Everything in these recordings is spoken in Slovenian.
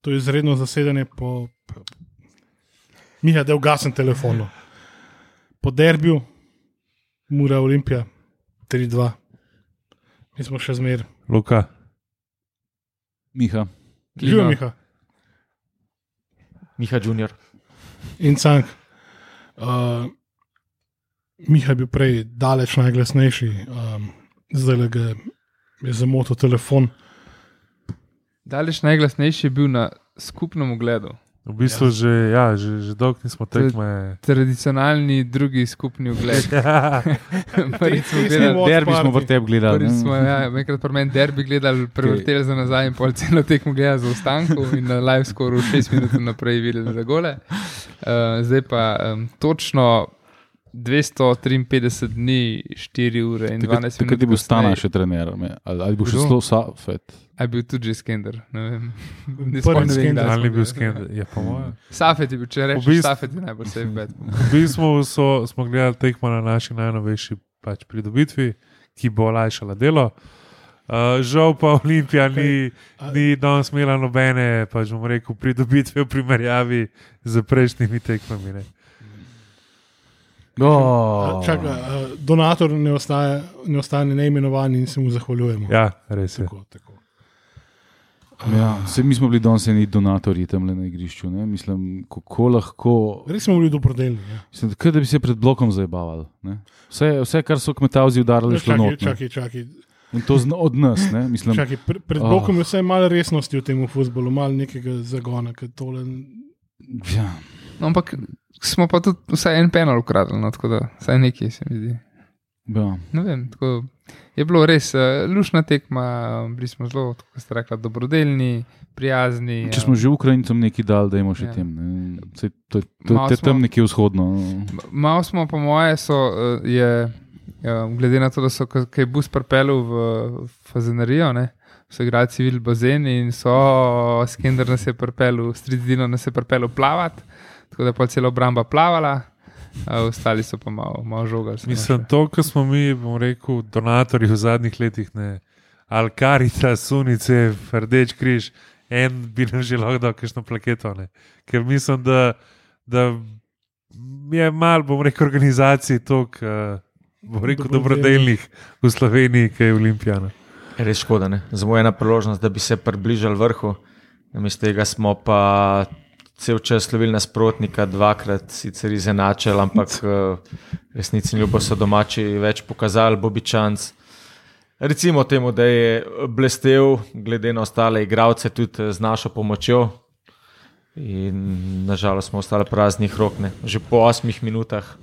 To je izredno zasedanje po. Miha, da ugasen telefon. Po derbiju, mora Olimpija 3-2. Mi smo še zmer. Luka, Miha. Živijo Miha Miha Junior. in Cank. Uh, Miha je bil prej daleč najglasnejši, um, zdaj le ga je zamotil telefon. Daleč najglasnejši je bil na skupnem ogledu. v bistvu že, ja, že, že dolgo nismo To je- tekme. Tradicionalni drugi skupni ogled. Prvič smo Ti- ti gledali, Watch Derbi smo party. vrteb gledali. prvič ne. smo, ja, enkrat pa meni derbi gledali, prevrteli za nazaj in pol celo tekmo gledali za ostanku in na live skoru 6 minut naprej videli za gole. Uh, zdaj pa um, točno 253 dni, 4 ure in 12 minut. Takrat je bil Stana kasneje. še trener, me- ali, ali bo še Kdo? zelo safet. A je bil tudi že skender. Ne vem. Ne Prvi spomnim, kdaj Skender. smo Ali je bil gledali. Ja. skend? Je po mojem. Safet je bil, če rečeš, V bistvu- Safet je najbolj safe bet. V bistvu so, smo gledali tekmo na naši najnovejši pač pridobitvi, ki bo olajšala delo. Uh, žal pa Olimpija ni, A- ni danes imela nobene, pač bom rekel, pridobitve v primerjavi z prejšnjimi tekmami. Ne. Oh. Oh. Čaka, uh, donator ne, ostaje, ne ostane neimenovan in se mu zahvaljujemo. Ja, res je. Tako, tako. Ja, se, mi smo bili danes eni donatorji tam na igrišču. Ne? Mislim, kako lahko. Res smo bili dobrodelni. Ja. Mislim, kot da bi se pred blokom zabavali. Vse, vse, kar so kmetavci udarili, je šlo Čakaj, not. ne. čakaj, čakaj. In to zna, od nas. Ne? Mislim, Čakaj, pred, pred Ah. blokom je vse malo resnosti v tem futbolu, malo nekega zagona. ker Tole... ja, No, ampak smo pa tudi vsaj en penal ukradli, no, tako da vsaj nekaj se mi zdi. ja. Ne vem, tako je bilo res uh, lušna tekma, eh, bili smo zelo, kot ste rekli, dobrodelni, prijazni. eh, Če smo že Ukrajincem nekaj dali, da imamo še Ja. ja. tem. Ne? Sej, to, to, Malo to je smo- tam nekje vzhodno. no. Malo smo, po moje, so, eh, je, eh, glede na to, da so k- kaj bus pripeljal v fazenerijo, ne, so igrali civil bazen in so, Skender nas je pripeljal, Stridino nas je pripeljal plavat, tako da je pa celo obramba plavala, eh, ostali so pa malo, malo žogali. so Mislim, naše. to, kar smo mi, bom rekel, donatorji v zadnjih letih, ne Alkarita, Sunice, Rdeč križ, en bi nam že lahko dal kakšno plaketo. Ne. Ker mislim, da, da je malo, bom rekel, organizacij toliko. Uh, Bom rekel, dobrodelnih v Sloveniji, ki je olimpijana. Res škoda, ne? Zamo ena priložnost, da bi se približali vrhu. Namesto tega smo pa cel čas slovili nasprotnika, dvakrat sicer izenačili, ampak eh, resnici in ljubo so domači več pokazali, Bobičanc. Recimo temu, da je blestev, glede na ostale igralce, tudi eh, z našo pomočjo. In nažalost smo ostali praznih rok, ne? že po osmih minutah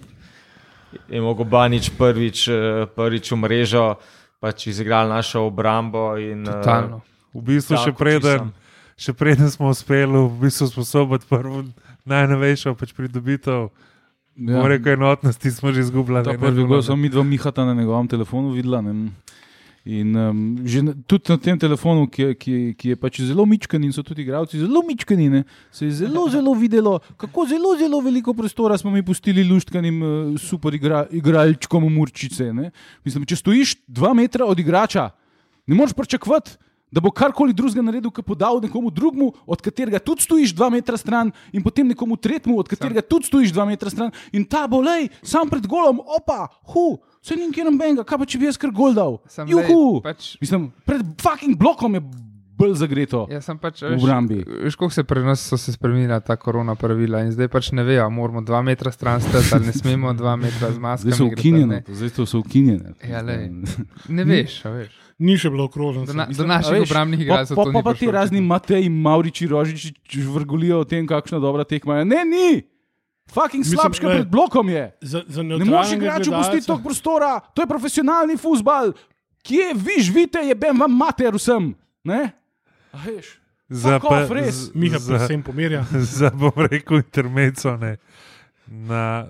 je mogel Banič prvič, eh, prvič v mrežo, pač izigral našo obrambo. In, eh, Totalno. V bistvu, še Tako, preden, čisto. še preden smo uspeli, v bistvu sposobiti prvo najnovejšo pač pridobitev, ja. bom rekel, enotnosti smo že izgubljali. Ta ne, prvi ne, gol ne. sem mi dva mihata na njegovem telefonu videla. Ne? In um, že na, tudi na tem telefonu, ki, je- ki, je- ki je pač zelo mičken in so tudi igralci zelo mičkeni, ne, se je zelo, zelo videlo, kako zelo, zelo veliko prostora smo mi pustili luštkanim uh, super igra, igralčkom Murčice. Ne. Mislim, če stojiš dva metra od igrača, ne moreš pričakovati. Da bo karkoli drugega naredil, ki podal nekomu drugemu, od katerega tudi stojiš dva metra stran, in potem nekomu tretjemu, od katerega tudi stojiš dva metra stran, in ta bo le, sam pred golom, opa, hu, se ni nikjer nobenega, kaj pa če bi jaz kar gol dal. Samo glej, Juhu! pač- Mislim, pred fucking blokom je bolj zagreto. Jaz sem pač V obrambi. Veš, kako se pri nas so se spremenila ta korona pravila in zdaj pač ne vejo, ali moramo dva metra stran stati ali ne smemo dva metra z maskami. Zdaj so igrati, ukinjene, ali zdaj so, so ukinjene. Ne, ja, lej, ne veš, a veš. Ni še bilo okrožen. Do, na, do naših obrambnih igralcev Pa, to pa, ni pa ti prišlo. razni Mateji, Mauriči, Rožiči vrgolijo o tem, kakšna dobra tekma je. Ne, ni! Fucking Mislim, slabška glej, pred blokom je. Za, za Ne moreš igraču pustiti to. toliko prostora, to je profesionalni futbal. Kje vi živite, je ben vam mater vsem. Ne? A veš? Za Fuck off, pa- z- res. Miha za- pa se jim pomirja. za, bom rekel, intermeco. Ne. Na,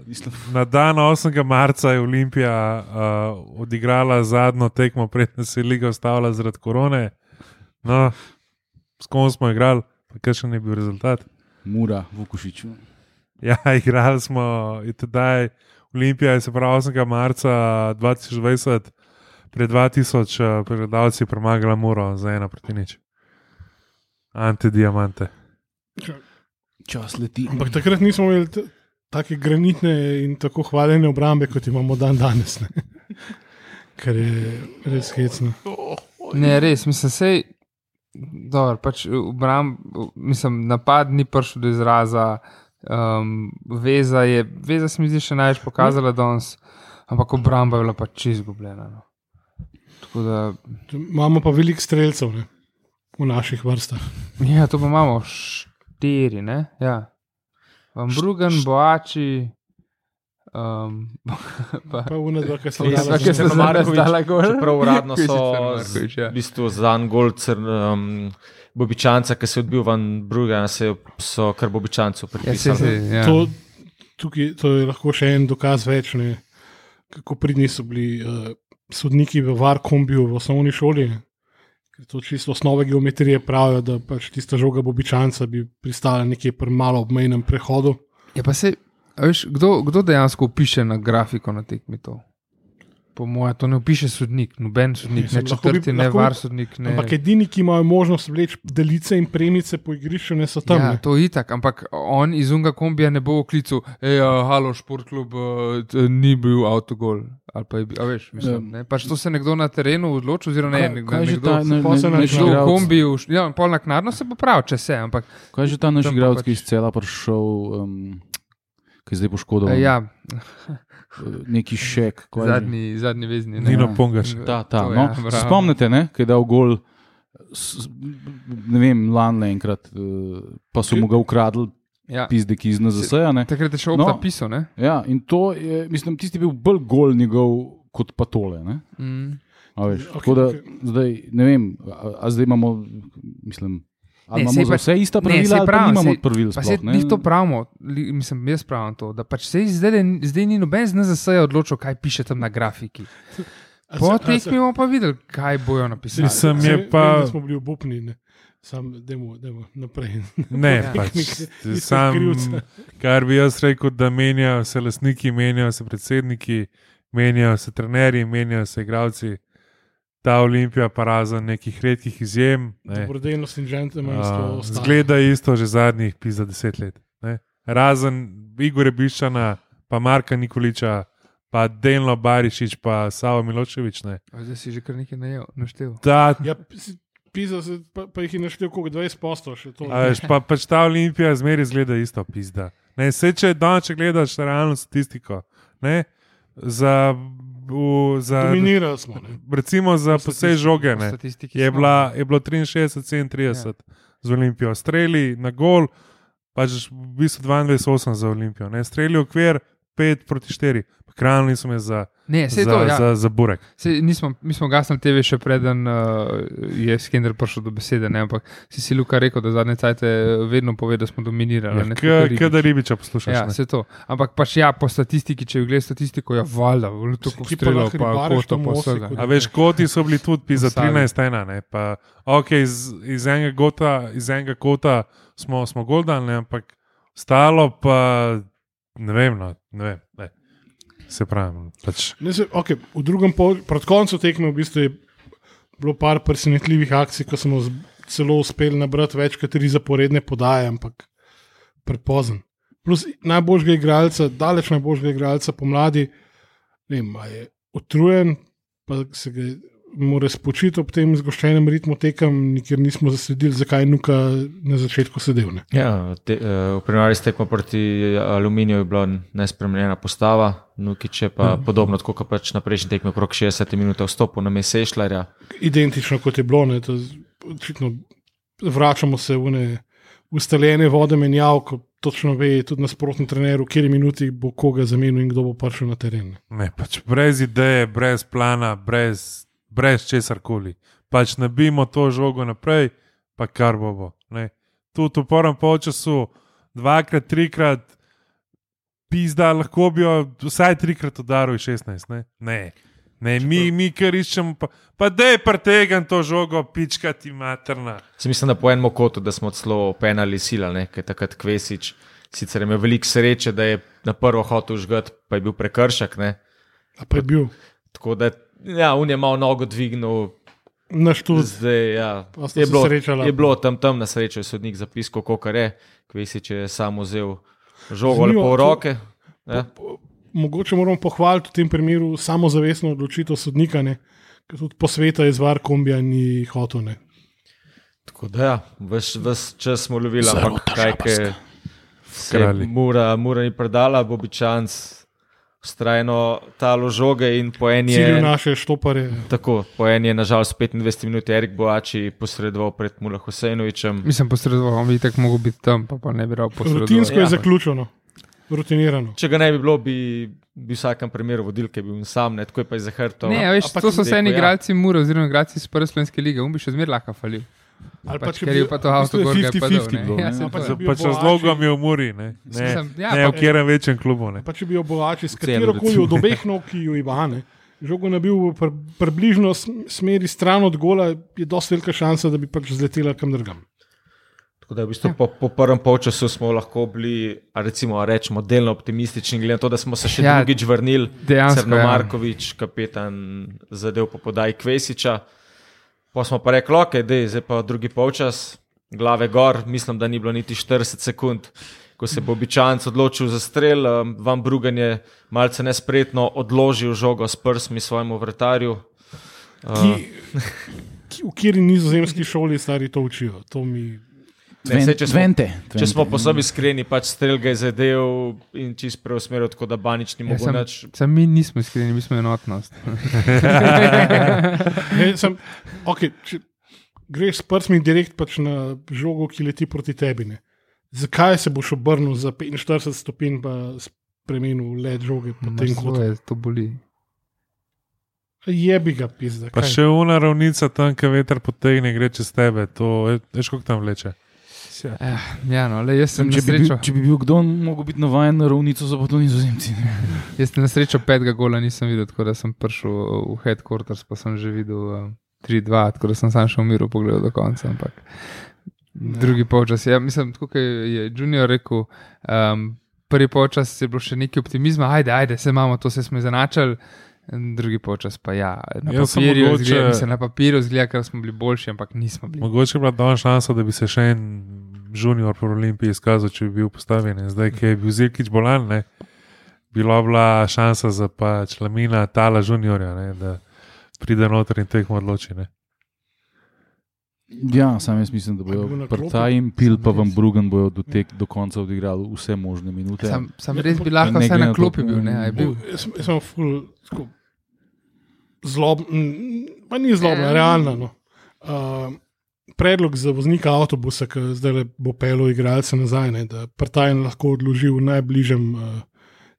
na dan 8. marca je Olimpija uh, odigrala zadnjo tekmo, preden se je liga ustavila zaradi korone. No, s kom smo igrali, pa kakšen je bil rezultat. Mura, Vukušič. Ja, igrali smo in tedaj Olimpija, je, se pravi 8. marca 2020, pred uh, 2000 eh, predavalci premagala Muro za ena proti nič. Ante diamante. Čas leti. Ampak takrat nismo imeli t- take granitne in tako hvaljene obrambe, kot imamo dan danes. Ne? Kar je res hecno. Ne, res, mislim, sej, dober, pač obram, mislim, napad ni prišel do izraza, um, veza, je, veza se mi zdi še največ pokazala danes, ampak obramba je bila pač čist izgubljena. No. Tako da, Imamo pa veliko streljcev ne? v naših vrstah. ja, to pa imamo štiri, ne? Ja. Vam drugen, boači. Um, pa, Pa v nedva, kar se Ja, Ja, Vsak ki je je so se Crno Markovič, zdala gor. Čeprav uradno Kvičica so Markovič, ja. v bistvu za en gol crn, um, Bobičanca, ki se je odbil van Brugana, se je- so kar Bobičancu Ja, se, se, pripisali. ja. To, tukaj, to je lahko še en dokaz več, ne? kako pridni so bili uh, sodniki v Varkombiju v osnovni šoli. ne. Ker to čisto osnove geometrije pravijo, da pač tista žoga bobičanca bi pristala nekje pri malo obmejnem prehodu. Ja, pa se, veš, kdo, kdo dejansko piše na grafiko na tekmi to? Po mojem, to ne piše sodnik, noben sodnik, Mislim, ne lahko bi- četrti, ne lahko bi- var sodnik. Ne. Ne. Ampak edini, ki imajo možnost vleči delice in premice po igrišču, ne so tam. ja, Ja, to je itak, ampak on iz unga kombija ne bo oklical, hej, uh, halo, šport klub uh, t- ni bil avtogol. ali pa je bil- A veš, mislim, Ja. ne. Pač to se nekdo na terenu odloči, oziroma ne, nekdo, kaj je že nekdo, ta na- pol se na- naš nekdo v igralec? kombiju, š- ja, pol naknadno se bo prav, če se, ampak Kaj je že ta naš Tam pa igralec, pač- ki je iz cela prišel, um, ki je zdaj poškodovan? eh, ja, Neki šek. kaj je že? zadnji, zadnji vezni. ne. Nino Pongaš. In- Ta, ta, to, no. ja, bravo. Se Spomnite, ne, ki je dal gol, s- ne vem, lani enkrat, eh, pa so mu ga ukradli, Ja. pizdeki iz NZS-ja. ne. Takrat je še No. opta pisal, ne? Ja, in to je, mislim, tisti je bil bolj gol njegov kot pa tole. Ne? Mm. A Veš, Okej, okay, da, okej. zdaj, ne vem, a, a zdaj imamo, mislim, ali Ne, imamo saj za pa- vse ista ne, saj pravila, ali pravim, pa nimamo saj- pravil. Pa se Sploh, mi ne? to pravimo, li- mislim, jaz pravim to, da pač se zdaj, le- zdaj ni noben z NZS-ja odločil, kaj piše tam na grafiki. Po tekmi bomo pa videli, kaj bojo napisali. Mislim, je pa- Pa... Smo bili obupni, ne. sam demo, demo naprej. Ne, Ja. pač, Iskati sam, krivca. kar bi jaz rekel, da menjajo se lastniki, menjajo se predsedniki, menjajo se trenerji, menjajo se igravci. Ta olimpija pa razen nekih redkih izjem. Ne. Dobrodelnost in Uh, džentlmenstvo. zgleda isto že zadnjih pisa deset let. Ne? Razen Igorja Bišana, pa Marka Nikoliča, pa Delno Barišič, pa Savo Miloševič. Ne? A Zdaj si že kar nekaj najel- naštel. Ta, Ja, si- pisa se, pa, pa jih je naštel kot 20 postov še to. a veš, pa, pač ta olimpija zmeri zgleda isto pizda. Ne, se če danes če gledaš realno statistiko, ne, za, v, za, Dominirali smo. Ne. recimo za posej žoge, ne, Statistiki je, smo. bila, je bilo 63, 37 ja. z Olimpijo. Streli na gol, pač v bistvu 22-8 za Olimpijo. Ne? Streli okvir 5 proti 4, kranili so me za, Ne, za, sej to, ja. za, za burek. Sej nismo, mi smo gasnili TV še preden uh, je Skender prišel do besede, ne? ampak si si Luka rekel, da zadnje cajte vedno pove, da smo dominirali. Ja, Ja, Ja, ne, tako kot Kaj da Ribič. ribiča poslušaš? Ja, ne. se to. Ampak pač ja, po statistiki, če gledaš statistiko, je valjda, to Saj kot ti pa strelo, lahko pa ribariš koto, tam pa v vsega. Osijeku, A veš, koti so bili tudi pi za Vsaj. 13-1, ne pa ok, iz, iz, enega, gota, iz enega kota smo, smo gol dali, ne, ampak stalo pa ne vem, no, ne vem. Ne. Se pravi, pač, Ne, se, okay, v drugem pol, pred koncem tekme v bistvu je bilo par presenetljivih akcij, ko smo z- celo uspeli nabrati več kot tri zaporedne podaje, ampak prepozen. Plus najboljšega igralca, daleč najboljšega igralca pomladi, ne vem, a je utrujen, pa se ga je- mora spočiti ob tem zgoščenem ritmu tekem, nikjer nismo zasledili, zakaj je nuka na začetku sedel. Ne. Ja, te, eh, v primerjavi s tekmo proti Aluminiju je bila nespremenjena postava, Nukiče pa Mhm. podobno, tako kot pač na prejšnji tekmi, okrog 60 minut vstopil na Mesešljarja. identično kot je bilo. Ne, to z- očitno vračamo se v ne ustaljene vode menjav, ko točno ve tudi nasprotni trener, v kateri minuti bo koga zamenil in kdo bo prišel na teren. ne. ne, pač brez ideje, brez plana, brez, brez česar koli. Pač nabijmo to žogo naprej, pa kar bo bo. ne. Tudi v prvem polčasu, dvakrat, trikrat, pizda, lahko bi jo vsaj trikrat udaril iz 16. Ne, ne. ne mi, mi kar iščemo, pa, pa da je pretegan to žogo, pička ti materna. Se mislim, da po enem kotu, da smo celo penali sila, ne, ker takrat Kvesič, sicer je imel veliko sreče, da je na prvo hotel žgat, pa je bil prekršek, ne. A pa je bil. Tako da, ja, on je malo nogo dvignil, Naš tudi. Zdaj, ja. Pa sta je, se bilo, srečala. je bilo tam, tam na srečo, je sodnik zapisal, koliko je, Kvesič je sam vzel žogo Zanimivo, lepo v to- roke. Ja. Mogoče moramo pohvaliti v tem primeru samozavestno odločitev sodnika, ne? ker tudi po svetu je zvar kombija ni hotel. Ne? Tako da, ja, ves, ves čas smo lovili, Zelo ampak kaj, ki se Kralji. mura, mura ni predala, Bobičanc vztrajno talo žoge in po eni Cilju je. naše štopare. Tako, po eni je nažalost 25 minut Erik Boači posredoval pred Mula Hosejnovičem. Mislim, posredoval, on bi tako mogel biti tam, pa, pa ne bi rad posredoval. Rutinsko je Ja. zaključeno, rutinirano. Če ga ne bi bilo, bi, bi v vsakem primeru vodil, ki bi bil sam, ne tako je no. pa iz Hrta. Ne, a veš, Ampak to so vse rekel, eni ja. igralci Mura, oziroma igralci iz prve slovenske lige, um bi še zmeraj lahko falil. Ali Pač, ker je pa to avto gor, ga je padel, ne. bilo, Ja, ne. saj to Ampak je. če bi Pač Boači- razlogom je v Muri, ne, ne, Mislim, ja, ne pa- v katerem večjem klubu. Ne. Pa če bi jo bolači s Celo, katero koli recimo. od obeh nog, ki jo ibane, žogo nabil v pr približno sm- smeri stran od gola, je dosti velika šansa, da bi pač zletela kam drugam. Tako da v Ja. bistvu po, po prvem polčasu smo lahko bili, a recimo, a rečemo, delno optimistični, glede na to, da smo se še Ja, ja, drugič vrnili. dejansko, Srno ja. Markovič, kapetan zadev po podaji Kvesiča. Pa smo pa rekli, ok, dej, zdaj pa drugi polčas, glave gor, mislim, da ni bilo niti 40 sekund. Ko se bo običajenc odločil za strel, em, vam Brugen je malce nespretno odložil žogo s prsmi svojemu vrtarju. Ki, ki, v kateri nizozemski šoli stari to učijo. To mi, Ne, saj, če smo- Tvente. Če smo posebej iskreni, pač strel ga je zadev in čist preusmeril, tako da Banič ni Ja, mogel sam, več. sam mi nismo iskreni, mi smo enotnost. ne, sem, okay, če greš s prsmi direkt pač na žogo, ki leti proti tebi, ne. zakaj se boš obrnil za 45 stopinj in spremenil le žoge po tem, Zelo kot je, to boli. je bi ga pisal. Pa še una ravnica tam, ki veter potegne, gre čez tebe. To je, veš, kako tam vleče. Eh, ja, no, le jaz sem na Če bi, bil, srečo, če bi bil kdo, mogel biti navaden na ravnico, so pa to nizozemci. ne. jaz na srečo petega gola nisem videl, tako da sem prišel eh, v headquarters, pa sem že videl eh, 3-2, tako da sem sam še v miru pogledal do konca. Ampak. Drugi polčas. Ja, mislim, tako kot je Junior rekel, um, prvi polčas je bilo še nekaj optimizma, ajde, ajde, se imamo, to se smo izenačali. Drugi polčas pa ja, na Jaz sem papirju, mogoče- mogoče... mislim, na papirju zgleda, ker smo bili boljši, ampak nismo bili. Mogoče je bila danes šansa, da bi se še en junior po Olimpiji izkazal, če bi bil postavljen. In Zdaj, ki je bil Zirkič bolan, ne, bila je bila šansa za pač Lamina, Tala juniorja, ne, da pride noter in tekmo odloči. Ne. Ja, sam jaz mislim, da A bi bil bojo na prta klopi? in pil, pa vam Brugen bojo do, tek, do konca odigrali vse možne minute. Sam, sam Ja, res ampak- bi lahko Ne vse glede na na to, klopi bil, ne, a je bil. Jaz jaz sem ful, tako, zloben, pa ni zlobna, Ja. realna. No. Uh, predlog za voznika avtobusa, ki zdaj bo pelo igralce nazaj, ne, da Prtajen lahko odloži v najbližjem uh,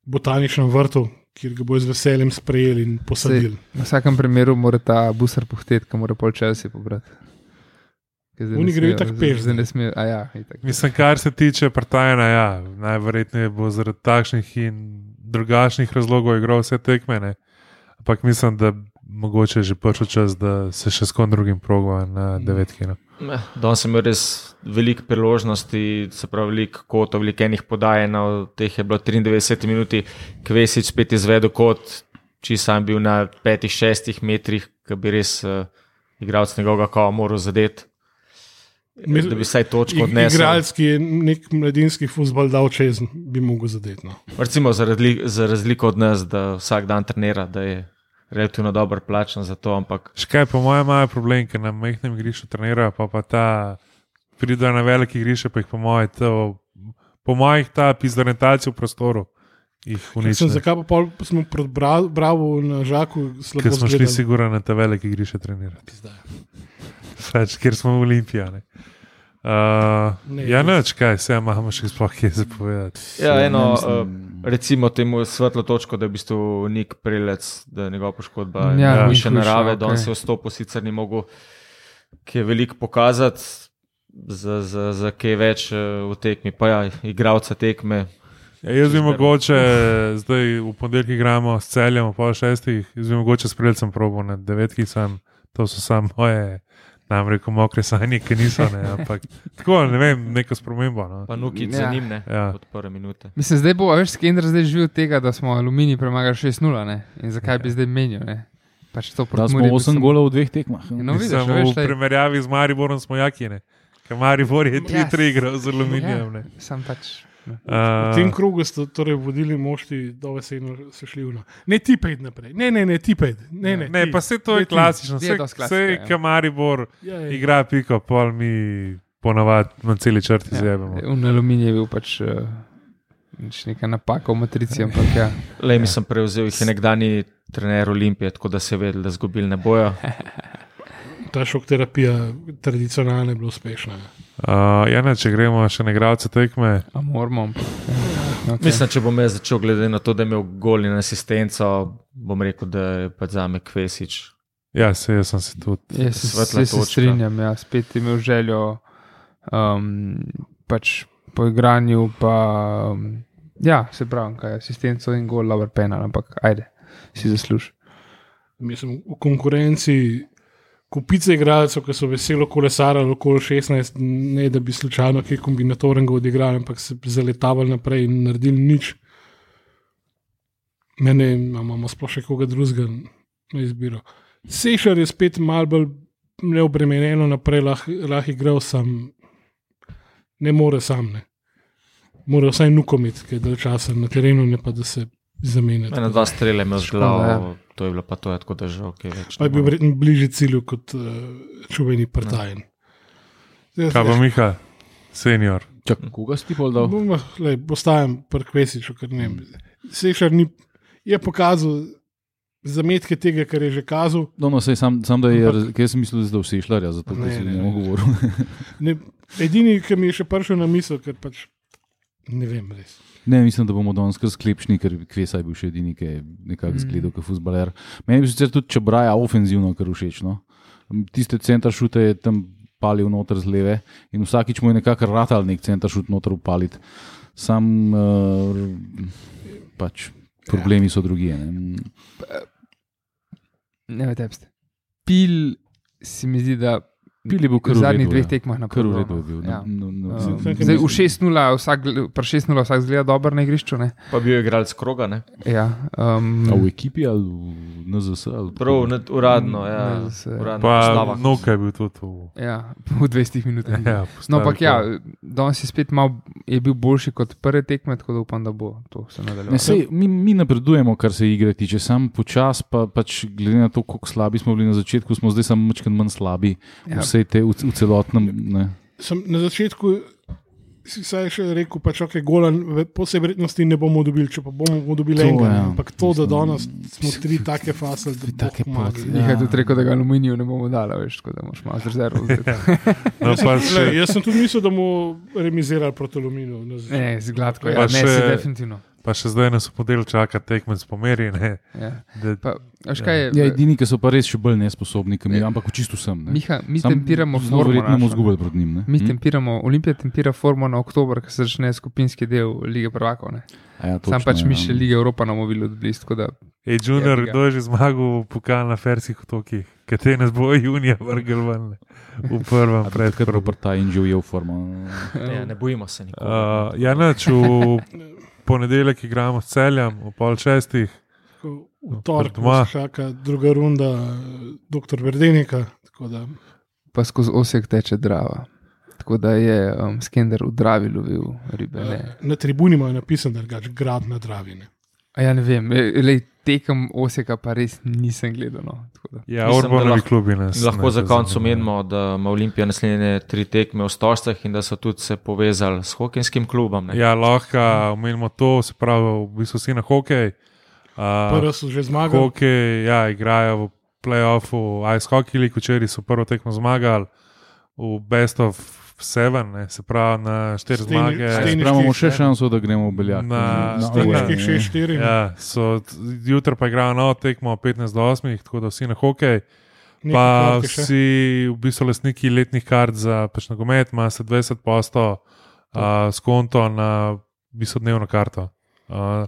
botaničnem vrtu, kjer ga bo z veseljem sprejeli in posadili. V vsakem primeru mora ta busar pohteti, ki mora pol časa pobrati. Ker zdaj ne Oni grejo smejo- itak peš, Zdaj ne ne. smejo, a ja, itak. Mislim, kar se tiče Partajna, ja, najverjetneje bo zaradi takšnih in drugačnih razlogov igral vse tekmene. Ampak mislim, da mogoče je že prišel čas, da se še s kom drugim proga na devetki. No. Eh, Danes sem imel res veliko priložnosti, se pravi, veliko kotov, veliko enih podaj, na od teh je bilo 93 minut, Kvesič spet izvedel kot, če sam bil na 5-6 metrih, ki bi res uh, igralec njegovega kava moral zadeti. Mi- Da bi vsaj točko odnesel. Igralec, ki je nek mladinski futbol dal čez, bi mogel no. zadetno. Recimo, za, radli, za razliko od nas, da vsak dan trenira, da je relativno dobro plačen za to, ampak Še kaj, po mojem, imajo problem, ker na mehkem igrišču trenirajo, pa pa ta pridejo na veliki igrišče, pa jih po mojem, to- po mojih ta pizorientacija v prostoru jih Mislim, uničuje. zakaj pa pol smo pred Bra- Bravo na Žaku slabo Ker smo šli zgledali. sigurno na ta veliki igrišče trenirati. Pač, ker smo olimpijani. Uh, Ne, ja, to- noč, kaj se imamo še sploh kje zapovedati. Ja, ne eno, mislim. eh, recimo temu svetlo točko, da je v bistvu nek prelec, da je njegova poškodba Ja, ja, ni više hujša, narave, okay. okej. da on se je vstopil, sicer ni mogel, ki je veliko pokazati, za, za, za kaj več eh, v tekmi, pa ja, igravca tekme. Ja, jaz bi mogoče, zdaj v ponedeljek igramo s celjem, ob pol šestih, jaz bi mogoče s prelecem probo na devetki, sam, to so samo moje, nam reko, mokre sanje, ki niso, ne, ampak tako, ne vem, neko spremembo. No. Pa Ja. nuki ja. za njim, ne, Ja. ja. od prve minute. Mislim, zdaj bo, a veš, Skender zdaj živi od tega, da smo aluminij premagali 6-0, ne? In zakaj bi zdaj menil, ne? Pač to Da proti smo Muri bi 8 samo- golov v dveh tekmah. Ja, No, Mislim, vidiš, v veš, lej, primerjavi z Mariborom smo jakine. Ker Maribor je Ja. 3-3 igral z aluminijem. ne. sam pač. ne. V Uh, tem krogu ste torej vodili mošti, dovesedno se šli vna. Ne ti pejdi naprej, ne, ne, ne ti pejdi. Ne, ne, Ne, ti. pa se to je Ti. klasično. E, Je Vse, dosti klasika, vse ja. ki Maribor Ja, ja. igra, piko, pol mi ponavadi na celi črti ja. zjebemo. V aluminij je bil pač eh, nič neka napaka v matrici, ampak ja. Le mi sem prevzel, jih je nekdani trener Olimpije, tako da se je vedel, da zgubili ne bojo. Ja. Ta šok terapija tradicionalno je bila uspešna. Uh, Jana, če gremo še na igralce tekme, A moramo. ampak, ja, okej. Mislim, če bom jaz začel, glede na to, da je imel gol in asistenco, bom rekel, da je pač pa za me Kvesič. ja, se jaz sem se tudi. Jaz se, svetla jaz se točka. strinjam, ja. spet je imel željo um, pač po igranju, pa um, ja, se pravi, kaj je asistenco in gol, laver penal, ampak ajde, si zasluži. Mislim, v konkurenci kupice igralcev, ki so veselo kolesarili okoli 16, ne da bi slučajno kaj kombinatornega odigrali, ampak se zaletavali naprej in naredili nič. Mene a imamo sploh še koga drugega na izbiro. Sešar je spet malo bolj neobremenjeno naprej, lahko lah igral sam, ne more sam. Ne. Mora vsaj nukomet, ki je dal časa na terenu, ne pa da se zamenja. Ena, dva strele je imel z Škoda, ja. glavo, to je bilo pa to, je tako da žal, kaj več. Pa je ne bil morem. verjetno bližje cilju kot uh, čuveni prtajen. No. Kaj pa Miha, senior? Čakaj, koga si ti pol dal? Bomo, lej, ostajam pri Kvesiču, ker ne vem. Sešar ni, je pokazal zametke tega, kar je že kazal. No, no, sej, sam, sam da je, Ampak- ker sem mislil, da vsi šlarja, zato Ne, ne, si ne, ne ne. mogu govoriti. Ne, edini, ki mi je še prišel na misel, ker pač ne vem res. Ne, mislim, da bomo danes kar sklepšni, ker Kvesa je bil še edini, ki je Mm. nekako zgledal kot futbaler. Meni je sicer tudi Čebraja ofenzivno kar všeč. No? Tiste center šute je tam palil noter z leve in vsakič mu je nekako ratal nek center šut noter upaliti. Sam uh, pač. Problemi so drugi. Ne? Ne vem, tepste. Pil se mi zdi, da Pili bo v kar v zadnjih redu, dveh ja. tekmah na Kar v prvo, redu je no. bil. Ja. Ja. No, no, Um, no, Saj- saj- zdaj, v 6-0 vsak, gl- pri 6-0 vsak zgleda dobro na igrišču. Ne? Pa bil je igralec kroga, ne? Ja, A v um, ekipi ali v NZS? Ali Prav, ne, uradno, ja. Mm, Ne, se- Uradno Pa postava. Nuka je bil tudi v. ja, v 20 minutah. Ja, No, ampak ja, postavi danes je spet malo je bil boljši kot prve tekme, tako da upam, da bo to se nadaljevalo. Ne, sej, mi, mi napredujemo, kar se igre tiče, sam počasi, pa, pač glede na to, kako slabi smo bili na začetku, smo zdaj samo malo manj slabi Ja. ja. vsej te, v, v celotnem. Ne. Sem na začetku si saj še rekel, pač ok, golan, po vsej verjetnosti ne bomo dobili, če pa bomo dobili To, enega. ja. Ampak to, da Mislim, danes smo tri take fasle, da tri take boh pomagaj. pote, ja. Nekaj je tudi rekel, da ga aluminiju ne bomo dali, veš, tako da moraš malo z rezervo. vzeti. No, Jaz pa sem, še, le, jaz sem tudi mislil, da bomo remizirali proti Aluminu. na začetku. Ne, z gladko, Pa ja, ne, se še- definitivno. pa še zdaj nas v podelu čaka tekmec pomeri. Ne, Ja. da, Pa, veš kaj eh, je? Ja, edini, ki so pa res še bolj nesposobni, ki mi, ampak čisto sem. Ne. Miha, Ja. mi Samo tempiramo zelo formo. Verjetno Hm? bomo našo, ne. izgubili proti njim. Ne. Mi tempiramo, Olimpija tempira formo na oktober, ko se začne skupinski del lige prvakov. ne. A ja, Sam točno, pač ja. mi še lige Evropa na mobilu dobili, tako da Ej, Junior, Ja, bi ga. kdo je že zmagal v pokal na Ferskih otokih, kateri nas bo junija vrgel ven ne, v prvem A bi takrat predkrogu. Robert Tajn že ujel formo. Ne, ne bojimo se nikoli. Uh, Janač, v ponedeljek igramo s celjem, v pol šestih. Tako V torek doma. nas čaka druga runda, doktor Verdenika. tako da- pa skozi osek teče drava. Tako da je um, Skender v Dravi lovil ribe. Ne. eh, Na tribuni imajo napisan, da je grad na Dravine. A Ja, ne vem, e, lej, tekem Oseka pa res nisem gledal. No. tako da. Ja, Mislim, da Orbanovi lahko- klubi nas. In lahko ne za konec zanimajo. omenimo, da ima Olimpija naslednje tri tekme v Stožcah in da so tudi se povezali s hokejskim klubom. ne. Ja, lahko omenimo to, se pravi, v bistvu vsi na hokej. Uh, Prvi so že zmagali, hokej, ja, igrajo v playoffu, Ice Hockey League, včeraj so prvo tekmo zmagali v Best of Seven, ne, se pravi na štiri Steni- steni- zmage. Imamo še Steniških- šanso, da gremo v Beljak. Na- Na- Steniških na- nekaj še štiri. Ja, so, t- jutri pa igrajo novo tekmo 15 do 8, tako da vsi na hokej. Pa vsi, v bistvu, lastniki letnih kart za pač nogomet, ima se 20 posto uh, s konto na v bistvu dnevno karto. Uh,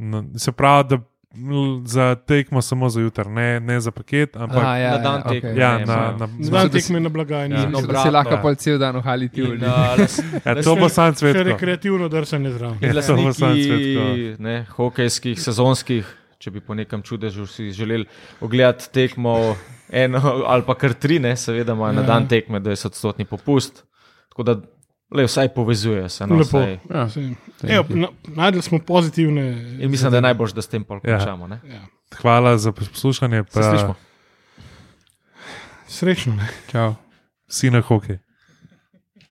na, se pravi, da l- za tekmo samo za jutr, ne, ne za paket, ampak ja, na dan ja, tekme. okej. ja, ne, na, ne. na, Znam Mislim, da si- tekme na blagajni. Ja, Ja, Mislim, no, da si obratno, lahko ja. pa cel dan ohaliti v In, ljudi. a, las- ja, to bo sam Še svet. rekreativno drsanje zraven. Ja, to bo sam svet. Lastniki ne, hokejskih, sezonskih če bi po nekem čudežu si želeli ogledati tekmo, eno ali pa kar tri, ne, seveda imajo na Ja. dan tekme 20-odstotni popust. Tako da le vsaj povezujejo se. No, Lepo. vsaj. Ja, Saj- Evo, na- Najdel smo pozitivne. In Ja, mislim, da je najbolj, da s tem pol Ja. končamo. Ja. Ja. Hvala za poslušanje, Se pa slišimo. Srečno. Ne? čau. vsi na hokej.